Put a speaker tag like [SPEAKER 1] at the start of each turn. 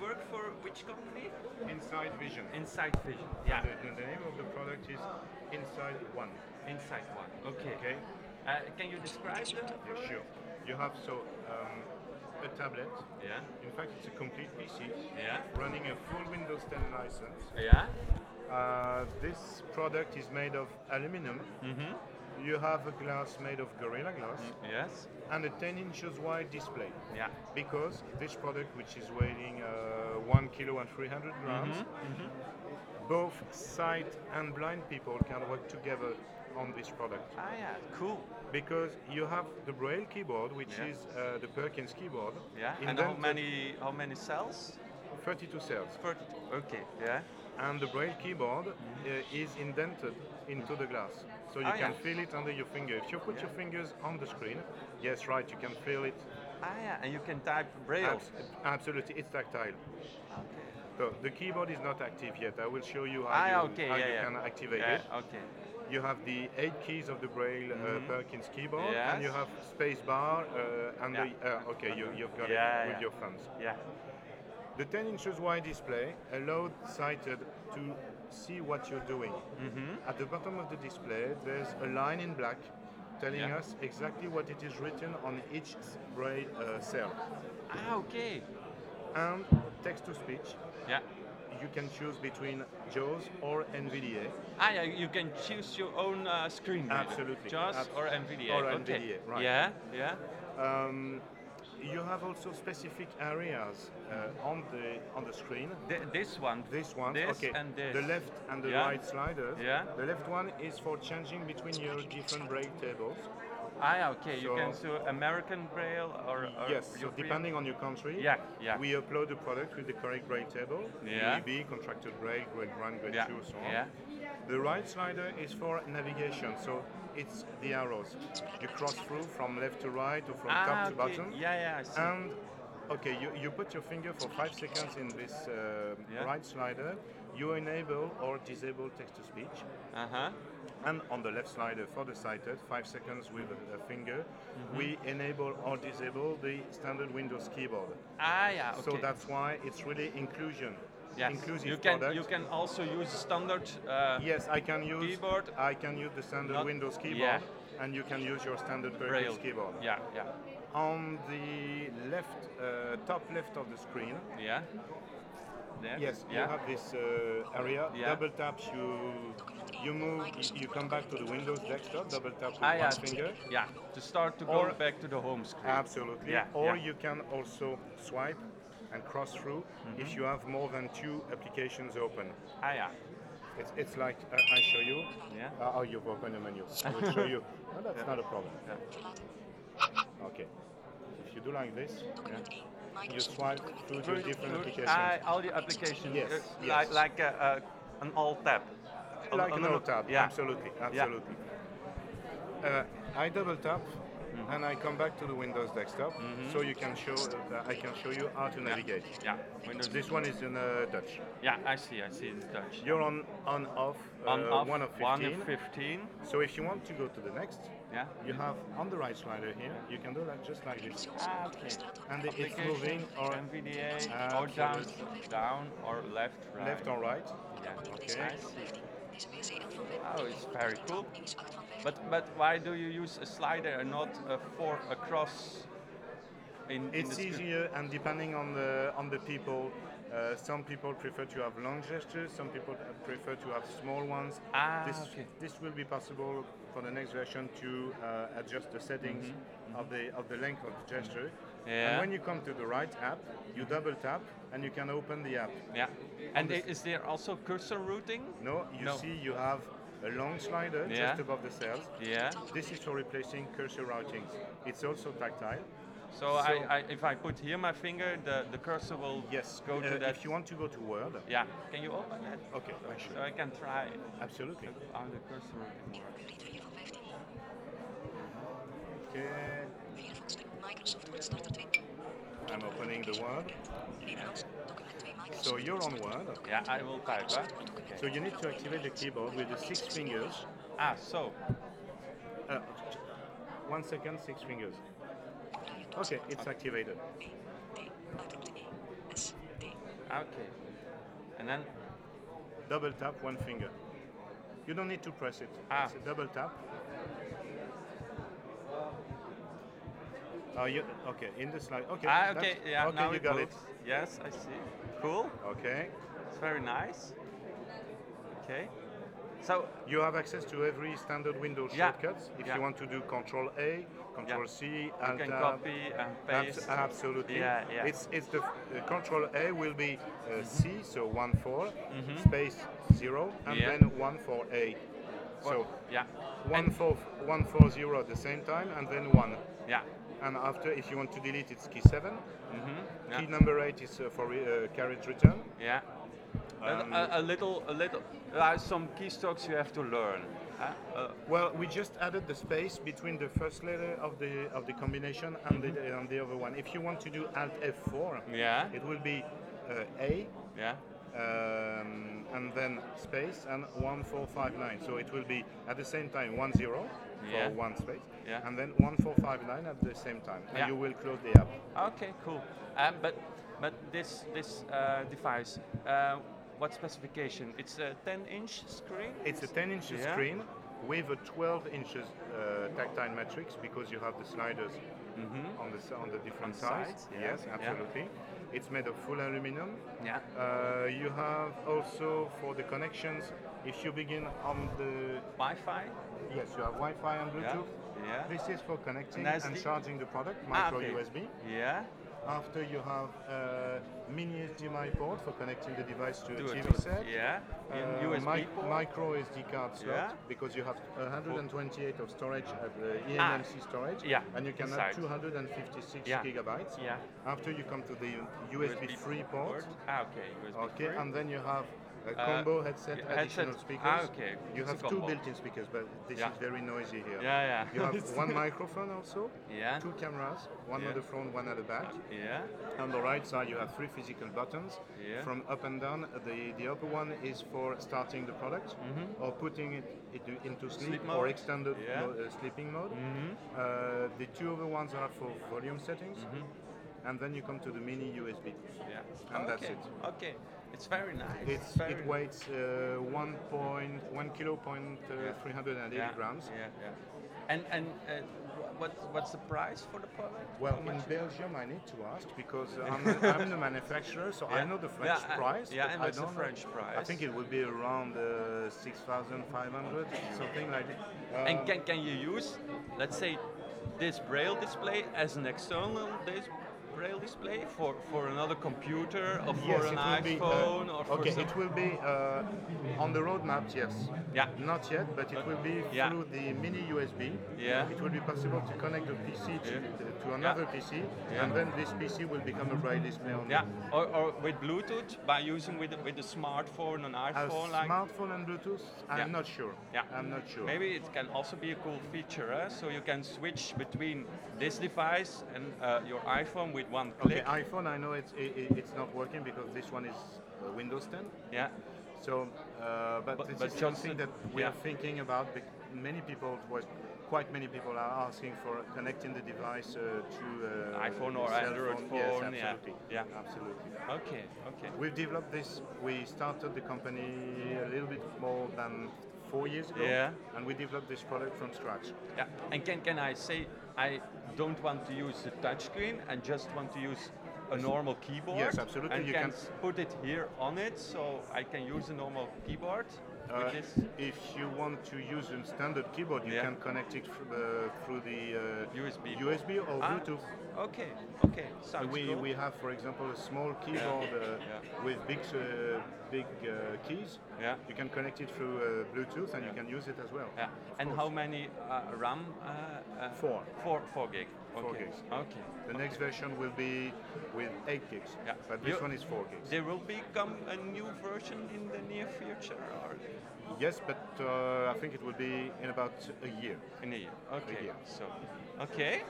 [SPEAKER 1] work for which company?
[SPEAKER 2] Inside Vision.
[SPEAKER 1] Insight Vision. Yeah,
[SPEAKER 2] The, the name of the product is Inside One.
[SPEAKER 1] Insight One. Okay.
[SPEAKER 2] Okay.
[SPEAKER 1] Uh, can you describe the
[SPEAKER 2] Yeah,
[SPEAKER 1] product?
[SPEAKER 2] sure. You have so um, a tablet.
[SPEAKER 1] Yeah.
[SPEAKER 2] In fact, it's a complete PC
[SPEAKER 1] Yeah.
[SPEAKER 2] running a full Windows 10 license.
[SPEAKER 1] Yeah.
[SPEAKER 2] Uh, this product is made of aluminum.
[SPEAKER 1] Mm-hmm.
[SPEAKER 2] You have a glass made of Gorilla Glass
[SPEAKER 1] Yes.
[SPEAKER 2] and a 10 inches wide display.
[SPEAKER 1] Yeah.
[SPEAKER 2] Because this product, which is weighing uh, 1 kilo and 300
[SPEAKER 1] Mm-hmm.
[SPEAKER 2] grams, both sight and blind people can work together on this product.
[SPEAKER 1] Ah, yeah. Cool.
[SPEAKER 2] Because you have the Braille keyboard, which
[SPEAKER 1] Yeah.
[SPEAKER 2] is uh, the Perkins keyboard.
[SPEAKER 1] Yeah. And how
[SPEAKER 2] invented-
[SPEAKER 1] many how many cells?
[SPEAKER 2] 32 cells.
[SPEAKER 1] 32. Okay. Yeah.
[SPEAKER 2] and the braille keyboard uh, is indented into the glass so you
[SPEAKER 1] Ah,
[SPEAKER 2] can
[SPEAKER 1] Mm-hmm. yeah.
[SPEAKER 2] feel it under your finger if you put
[SPEAKER 1] Yeah.
[SPEAKER 2] your fingers on the screen yes right you can feel it
[SPEAKER 1] Ah, yeah. And you can type braille.
[SPEAKER 2] Abs- absolutely it's tactile
[SPEAKER 1] Okay.
[SPEAKER 2] so the keyboard is not active yet i will show you how
[SPEAKER 1] Ah, yeah,
[SPEAKER 2] you,
[SPEAKER 1] okay.
[SPEAKER 2] how
[SPEAKER 1] yeah,
[SPEAKER 2] you
[SPEAKER 1] yeah.
[SPEAKER 2] can activate
[SPEAKER 1] yeah,
[SPEAKER 2] it
[SPEAKER 1] Okay.
[SPEAKER 2] you have the eight keys of the braille uh, perkins keyboard and you
[SPEAKER 1] Mm-hmm. Yes.
[SPEAKER 2] have space bar uh, and
[SPEAKER 1] Yeah.
[SPEAKER 2] the, uh, okay you, you've got
[SPEAKER 1] Yeah,
[SPEAKER 2] it with
[SPEAKER 1] yeah.
[SPEAKER 2] your thumbs
[SPEAKER 1] Yeah.
[SPEAKER 2] The 10 inches wide display allowed sighted to see what you're doing.
[SPEAKER 1] Mm-hmm.
[SPEAKER 2] At the bottom of the display, there's a line in black telling
[SPEAKER 1] Yeah.
[SPEAKER 2] us exactly what it is written on each s- braille uh, cell.
[SPEAKER 1] Ah, okay.
[SPEAKER 2] And text to speech,
[SPEAKER 1] Yeah.
[SPEAKER 2] you can choose between JAWS or NVDA.
[SPEAKER 1] Ah, yeah, you can choose your own uh, screen. reader.
[SPEAKER 2] Absolutely,
[SPEAKER 1] JAWS
[SPEAKER 2] abs-
[SPEAKER 1] or NVDA.
[SPEAKER 2] or
[SPEAKER 1] okay.
[SPEAKER 2] NVDA, right.
[SPEAKER 1] Yeah, yeah.
[SPEAKER 2] Um, you have also specific areas uh, on the on the screen.
[SPEAKER 1] Th- this one.
[SPEAKER 2] This one,
[SPEAKER 1] This
[SPEAKER 2] okay,
[SPEAKER 1] and this.
[SPEAKER 2] the left and the
[SPEAKER 1] Yeah.
[SPEAKER 2] right sliders.
[SPEAKER 1] Yeah.
[SPEAKER 2] The left one is for changing between your different braille tables.
[SPEAKER 1] Ah, yeah, okay. you
[SPEAKER 2] So-
[SPEAKER 1] can do American Braille or. or
[SPEAKER 2] Yes, so
[SPEAKER 1] European-
[SPEAKER 2] depending on your country,
[SPEAKER 1] Uh, Yeah, yeah.
[SPEAKER 2] we upload the product with the correct braille table,
[SPEAKER 1] Yeah.
[SPEAKER 2] B, contracted braille, grade 1, grade
[SPEAKER 1] Yeah,
[SPEAKER 2] 2, so on.
[SPEAKER 1] yeah.
[SPEAKER 2] The right slider is for navigation, so it's the arrows. You cross through from left to right or from
[SPEAKER 1] ah,
[SPEAKER 2] top to
[SPEAKER 1] okay.
[SPEAKER 2] bottom.
[SPEAKER 1] Yeah, yeah, I see.
[SPEAKER 2] And okay, you, you put your finger for five seconds in this uh,
[SPEAKER 1] Yeah.
[SPEAKER 2] right slider, you enable or disable text to speech.
[SPEAKER 1] uh huh.
[SPEAKER 2] And on the left slider for the sighted, five seconds with a- a finger,
[SPEAKER 1] Mm-hmm.
[SPEAKER 2] we enable or disable the standard Windows keyboard.
[SPEAKER 1] Ah, yeah, okay.
[SPEAKER 2] So that's why it's really inclusion.
[SPEAKER 1] yes.
[SPEAKER 2] Inclusive
[SPEAKER 1] you can,
[SPEAKER 2] product.
[SPEAKER 1] You can also use standard. Uh,
[SPEAKER 2] yes, I can use
[SPEAKER 1] Keyboard.
[SPEAKER 2] I can use the standard
[SPEAKER 1] Not-
[SPEAKER 2] Windows
[SPEAKER 1] yeah.
[SPEAKER 2] keyboard, and you can use your standard
[SPEAKER 1] Braille.
[SPEAKER 2] Perkins keyboard.
[SPEAKER 1] Yeah, yeah.
[SPEAKER 2] On the left, uh, top left of the screen,
[SPEAKER 1] Yeah. There,
[SPEAKER 2] yes,
[SPEAKER 1] yeah.
[SPEAKER 2] you have this uh, area.
[SPEAKER 1] Yeah.
[SPEAKER 2] Double tap, you you move, you, you come back to the Windows desktop. Double tap with
[SPEAKER 1] ah,
[SPEAKER 2] one
[SPEAKER 1] yeah.
[SPEAKER 2] finger.
[SPEAKER 1] Yeah, to start to
[SPEAKER 2] Or-
[SPEAKER 1] go back to the home screen.
[SPEAKER 2] Absolutely.
[SPEAKER 1] Yeah,
[SPEAKER 2] or
[SPEAKER 1] yeah.
[SPEAKER 2] you can also swipe and cross through if
[SPEAKER 1] Mm-hmm.
[SPEAKER 2] you have more than two applications open.
[SPEAKER 1] Ah, yeah.
[SPEAKER 2] It's, it's like uh, I show you.
[SPEAKER 1] Yeah.
[SPEAKER 2] Uh, oh, you've opened the menu. I will show you. No, that's not a problem.
[SPEAKER 1] Yeah.
[SPEAKER 2] Okay. If you do like this, yeah, you swipe through the different applications.
[SPEAKER 1] Ah, all the applications.
[SPEAKER 2] Yes,
[SPEAKER 1] uh,
[SPEAKER 2] yes.
[SPEAKER 1] Like, like a, a, an alt tab. A-
[SPEAKER 2] like
[SPEAKER 1] a
[SPEAKER 2] an
[SPEAKER 1] little-
[SPEAKER 2] alt tab.
[SPEAKER 1] Yeah.
[SPEAKER 2] Absolutely. Absolutely. Uh, I double tap.
[SPEAKER 1] Mm-hmm.
[SPEAKER 2] And I come back to the Windows desktop, so you can show. Uh, I can show you how to navigate.
[SPEAKER 1] Yeah. Mm-hmm. Windows.
[SPEAKER 2] This one is in uh, Dutch.
[SPEAKER 1] Yeah, I see. I see. It's Dutch.
[SPEAKER 2] You're on on off, uh,
[SPEAKER 1] on off,
[SPEAKER 2] one of 15.
[SPEAKER 1] One of 15.
[SPEAKER 2] So if you want to go to the next,
[SPEAKER 1] Yeah.
[SPEAKER 2] you have on the right slider here, you can do that just like this.
[SPEAKER 1] Ah, okay.
[SPEAKER 2] And it- it's moving or
[SPEAKER 1] NVDA
[SPEAKER 2] Ah,
[SPEAKER 1] or down,
[SPEAKER 2] absolutely.
[SPEAKER 1] down or left, right.
[SPEAKER 2] left or right.
[SPEAKER 1] Yeah.
[SPEAKER 2] Okay.
[SPEAKER 1] I see. Oh, it's very cool. But but why do you use a slider and not a four across? In, in the
[SPEAKER 2] It's
[SPEAKER 1] screen?
[SPEAKER 2] easier and depending on the on the people. Uh, some people prefer to have long gestures. Some people prefer to have small ones.
[SPEAKER 1] Ah,
[SPEAKER 2] this
[SPEAKER 1] okay.
[SPEAKER 2] this will be possible for the next version to uh, adjust the settings of the of the length of the gesture. And
[SPEAKER 1] Mm-hmm. Yeah. Mm-hmm.
[SPEAKER 2] when you come to the right app, you double tap and you can open the app.
[SPEAKER 1] Yeah. And i- is there also cursor routing?
[SPEAKER 2] No, you
[SPEAKER 1] No.
[SPEAKER 2] see you have a long slider
[SPEAKER 1] Yeah.
[SPEAKER 2] just above the cells.
[SPEAKER 1] Yeah.
[SPEAKER 2] This is for replacing cursor routings. It's also tactile.
[SPEAKER 1] So,
[SPEAKER 2] So-
[SPEAKER 1] I, I, if I put here my finger, the, the cursor will
[SPEAKER 2] Yes,
[SPEAKER 1] go
[SPEAKER 2] uh,
[SPEAKER 1] to that.
[SPEAKER 2] If you want Oh, to go to Word,
[SPEAKER 1] Yeah. Can you open that?
[SPEAKER 2] okay, actually,
[SPEAKER 1] So I can try
[SPEAKER 2] absolutely.
[SPEAKER 1] how the cursor routing works.
[SPEAKER 2] Okay, I'm opening the Word. So you're on Word.
[SPEAKER 1] Yeah, I will type. Huh?
[SPEAKER 2] So you need to activate the keyboard with the six fingers.
[SPEAKER 1] Ah, so.
[SPEAKER 2] Uh, one second, six fingers.
[SPEAKER 1] uh,
[SPEAKER 2] Okay, it's activated.
[SPEAKER 1] Okay. And then
[SPEAKER 2] Double tap, one finger. You don't need to press it.
[SPEAKER 1] Ah.
[SPEAKER 2] It's a double tap. Oh, you, okay, in the slide. Okay,
[SPEAKER 1] ah,
[SPEAKER 2] that's-
[SPEAKER 1] okay, yeah,
[SPEAKER 2] okay,
[SPEAKER 1] now
[SPEAKER 2] you
[SPEAKER 1] it
[SPEAKER 2] got
[SPEAKER 1] moves. Yes, I see. Cool.
[SPEAKER 2] it. Okay,
[SPEAKER 1] It's very nice. Okay. So
[SPEAKER 2] you have access to every standard Windows
[SPEAKER 1] Yeah,
[SPEAKER 2] shortcuts. If
[SPEAKER 1] yeah.
[SPEAKER 2] you want to do Control A, Control C,
[SPEAKER 1] you
[SPEAKER 2] Alt
[SPEAKER 1] can
[SPEAKER 2] Tab,
[SPEAKER 1] copy and
[SPEAKER 2] Abs-
[SPEAKER 1] paste.
[SPEAKER 2] absolutely.
[SPEAKER 1] Yeah, yeah. Mm-hmm.
[SPEAKER 2] It's it's the uh, control A will be uh, C, so one four space zero, and
[SPEAKER 1] Yeah.
[SPEAKER 2] then one four A. So
[SPEAKER 1] yeah.
[SPEAKER 2] one four one four zero at the same time, and then one.
[SPEAKER 1] Yeah.
[SPEAKER 2] And after, if you want to delete, it's key seven.
[SPEAKER 1] Mm-hmm. Yeah.
[SPEAKER 2] Key number eight is uh, for re- uh, carriage return.
[SPEAKER 1] yeah. A-
[SPEAKER 2] Um,
[SPEAKER 1] a, a little, a little. There are some keystrokes you have to learn. huh? Uh,
[SPEAKER 2] Well, we just added the space between the first letter of the of the combination and the and the other one. If you want to do Alt F4,
[SPEAKER 1] Mm-hmm. yeah.
[SPEAKER 2] it will be uh, A
[SPEAKER 1] Yeah.
[SPEAKER 2] um, and then space and 1459. So it will be at the same time 10 for
[SPEAKER 1] Yeah.
[SPEAKER 2] one space
[SPEAKER 1] Yeah.
[SPEAKER 2] and then 1459 at the same time. And
[SPEAKER 1] Yeah.
[SPEAKER 2] you will close the app.
[SPEAKER 1] Okay. Cool. Um, but but this this uh, device. Uh, what specification? It's a 10-inch screen.
[SPEAKER 2] It's a 10 inch
[SPEAKER 1] Yeah.
[SPEAKER 2] screen with a 12 inches uh, tactile matrix because you have the sliders
[SPEAKER 1] Mm-hmm,
[SPEAKER 2] on, the, s- on the different
[SPEAKER 1] On
[SPEAKER 2] sides.
[SPEAKER 1] sides, yeah,
[SPEAKER 2] Yes,
[SPEAKER 1] yeah.
[SPEAKER 2] absolutely. It's made of full aluminum.
[SPEAKER 1] Yeah.
[SPEAKER 2] Uh, you have also for the connections, if you begin on the
[SPEAKER 1] Wi-Fi.
[SPEAKER 2] Yes, you have Wi-Fi and
[SPEAKER 1] Yeah,
[SPEAKER 2] Bluetooth.
[SPEAKER 1] yeah.
[SPEAKER 2] This is for connecting
[SPEAKER 1] And that's
[SPEAKER 2] and
[SPEAKER 1] the-
[SPEAKER 2] charging the product,
[SPEAKER 1] Ah,
[SPEAKER 2] micro
[SPEAKER 1] okay.
[SPEAKER 2] USB.
[SPEAKER 1] Yeah.
[SPEAKER 2] After you have uh, mini HDMI port for connecting the device to a
[SPEAKER 1] Do it.
[SPEAKER 2] TV set.
[SPEAKER 1] Yeah.
[SPEAKER 2] Uh,
[SPEAKER 1] In USB
[SPEAKER 2] mic-
[SPEAKER 1] port.
[SPEAKER 2] micro SD card slot
[SPEAKER 1] Yeah.
[SPEAKER 2] because you have 128 of storage of the E
[SPEAKER 1] Ah.
[SPEAKER 2] eMMC storage
[SPEAKER 1] Yeah,
[SPEAKER 2] and you can
[SPEAKER 1] inside.
[SPEAKER 2] have 256
[SPEAKER 1] Yeah.
[SPEAKER 2] gigabytes.
[SPEAKER 1] Yeah.
[SPEAKER 2] After you come to the USB, free port,
[SPEAKER 1] Ah, okay. USB
[SPEAKER 2] Okay,
[SPEAKER 1] free.
[SPEAKER 2] and then you have a
[SPEAKER 1] Uh,
[SPEAKER 2] combo headset,
[SPEAKER 1] yeah,
[SPEAKER 2] additional
[SPEAKER 1] headset.
[SPEAKER 2] speakers.
[SPEAKER 1] Ah, okay,
[SPEAKER 2] You
[SPEAKER 1] it's a
[SPEAKER 2] have two
[SPEAKER 1] combo.
[SPEAKER 2] built-in speakers, but this
[SPEAKER 1] Yeah.
[SPEAKER 2] is very noisy here.
[SPEAKER 1] Yeah, yeah.
[SPEAKER 2] You have one microphone also,
[SPEAKER 1] Yeah.
[SPEAKER 2] two cameras, one
[SPEAKER 1] Yeah.
[SPEAKER 2] at the front, one at the back.
[SPEAKER 1] yeah.
[SPEAKER 2] On the right side, you have three physical buttons
[SPEAKER 1] Yeah.
[SPEAKER 2] from up and down. The the upper one is for starting the product or putting it, it into sleep,
[SPEAKER 1] Mm-hmm. Sleep
[SPEAKER 2] or
[SPEAKER 1] mode.
[SPEAKER 2] extended
[SPEAKER 1] Yeah. Mm-hmm.
[SPEAKER 2] mo- uh, sleeping mode. Uh, the two other ones are for volume settings, and then you come to the mini USB.
[SPEAKER 1] Yeah.
[SPEAKER 2] And
[SPEAKER 1] okay.
[SPEAKER 2] that's it.
[SPEAKER 1] Okay. It's very nice.
[SPEAKER 2] It's,
[SPEAKER 1] very
[SPEAKER 2] it weighs uh, one point one kilo point uh,
[SPEAKER 1] Yeah.
[SPEAKER 2] three hundred and eighty
[SPEAKER 1] yeah.
[SPEAKER 2] grams.
[SPEAKER 1] Yeah, yeah. And and uh, wh- what what's the price for the product?
[SPEAKER 2] Well,
[SPEAKER 1] How
[SPEAKER 2] in
[SPEAKER 1] much is-
[SPEAKER 2] Belgium, I need to ask because I'm, the- I'm the manufacturer, so
[SPEAKER 1] Yeah.
[SPEAKER 2] I know the French
[SPEAKER 1] Yeah, I-
[SPEAKER 2] price.
[SPEAKER 1] yeah,
[SPEAKER 2] but
[SPEAKER 1] I know
[SPEAKER 2] I
[SPEAKER 1] it's the
[SPEAKER 2] don't know.
[SPEAKER 1] French
[SPEAKER 2] I
[SPEAKER 1] price.
[SPEAKER 2] think it would be around uh, six thousand five hundred, something like that. Um,
[SPEAKER 1] and can can you use, let's say, this braille display as an external dis- braille display for for another computer or for
[SPEAKER 2] yes,
[SPEAKER 1] an
[SPEAKER 2] it will be, uh,
[SPEAKER 1] iPhone or for
[SPEAKER 2] okay,
[SPEAKER 1] some-
[SPEAKER 2] it will be uh, on the roadmap. Yes.
[SPEAKER 1] Yeah.
[SPEAKER 2] Not yet, but it
[SPEAKER 1] But-
[SPEAKER 2] will be
[SPEAKER 1] yeah.
[SPEAKER 2] through the mini USB.
[SPEAKER 1] Yeah.
[SPEAKER 2] It will be possible to connect the PC to,
[SPEAKER 1] Yeah.
[SPEAKER 2] to another PC,
[SPEAKER 1] Yeah.
[SPEAKER 2] and then this PC will become a bright display on
[SPEAKER 1] yeah, or, or with Bluetooth by using with a, with a smartphone, an
[SPEAKER 2] A
[SPEAKER 1] iPhone, like
[SPEAKER 2] smartphone and Bluetooth? I'm
[SPEAKER 1] Yeah.
[SPEAKER 2] not sure.
[SPEAKER 1] Yeah.
[SPEAKER 2] I'm not sure.
[SPEAKER 1] Maybe it can also be a cool feature, eh? so you can switch between this device and uh, your iPhone with one
[SPEAKER 2] Okay,
[SPEAKER 1] click.
[SPEAKER 2] iPhone. I know it's i i- it's not working because this one is uh, Windows 10.
[SPEAKER 1] yeah,
[SPEAKER 2] So, uh, but,
[SPEAKER 1] But-
[SPEAKER 2] this
[SPEAKER 1] but
[SPEAKER 2] is
[SPEAKER 1] Johnson-
[SPEAKER 2] something that we
[SPEAKER 1] yeah.
[SPEAKER 2] are thinking about. bec- Many people, was quite many people, are asking for connecting the device uh, to uh,
[SPEAKER 1] iPhone or
[SPEAKER 2] cell
[SPEAKER 1] Android
[SPEAKER 2] Yes,
[SPEAKER 1] phone, yeah.
[SPEAKER 2] absolutely.
[SPEAKER 1] Yeah.
[SPEAKER 2] absolutely.
[SPEAKER 1] okay, okay.
[SPEAKER 2] We've developed this. We started the company a little bit more than four years ago,
[SPEAKER 1] Yeah.
[SPEAKER 2] and we developed this product from scratch.
[SPEAKER 1] Yeah. And can, can I say, I don't want to use the touchscreen, I just want to use a normal keyboard.
[SPEAKER 2] Yes, absolutely,
[SPEAKER 1] And
[SPEAKER 2] you
[SPEAKER 1] can
[SPEAKER 2] can-
[SPEAKER 1] s- put it here on it, so I can use a normal keyboard.
[SPEAKER 2] Uh,
[SPEAKER 1] with this.
[SPEAKER 2] if you want to use a standard keyboard, you
[SPEAKER 1] Yeah.
[SPEAKER 2] can connect it fr- uh, through the uh,
[SPEAKER 1] USB.
[SPEAKER 2] USB or
[SPEAKER 1] Ah,
[SPEAKER 2] Bluetooth.
[SPEAKER 1] Okay, okay, sounds
[SPEAKER 2] We,
[SPEAKER 1] cool.
[SPEAKER 2] we have, for example, a small keyboard uh,
[SPEAKER 1] Yeah.
[SPEAKER 2] with big uh, big uh, keys.
[SPEAKER 1] Yeah.
[SPEAKER 2] You can connect it through uh, Bluetooth, and you
[SPEAKER 1] Yeah.
[SPEAKER 2] can use it as well.
[SPEAKER 1] Yeah.
[SPEAKER 2] of
[SPEAKER 1] And
[SPEAKER 2] course.
[SPEAKER 1] how many uh, RAM? Uh, uh,
[SPEAKER 2] Four.
[SPEAKER 1] Four, four gig. Okay.
[SPEAKER 2] Four gigs.
[SPEAKER 1] Okay.
[SPEAKER 2] The next version will be with eight gigs,
[SPEAKER 1] Yeah.
[SPEAKER 2] but this
[SPEAKER 1] You-
[SPEAKER 2] one is four gigs.
[SPEAKER 1] There will become a new version in the near future, or
[SPEAKER 2] Yes, but uh, I think it will be in about a year.
[SPEAKER 1] in a year. Okay.
[SPEAKER 2] year.
[SPEAKER 1] So, okay.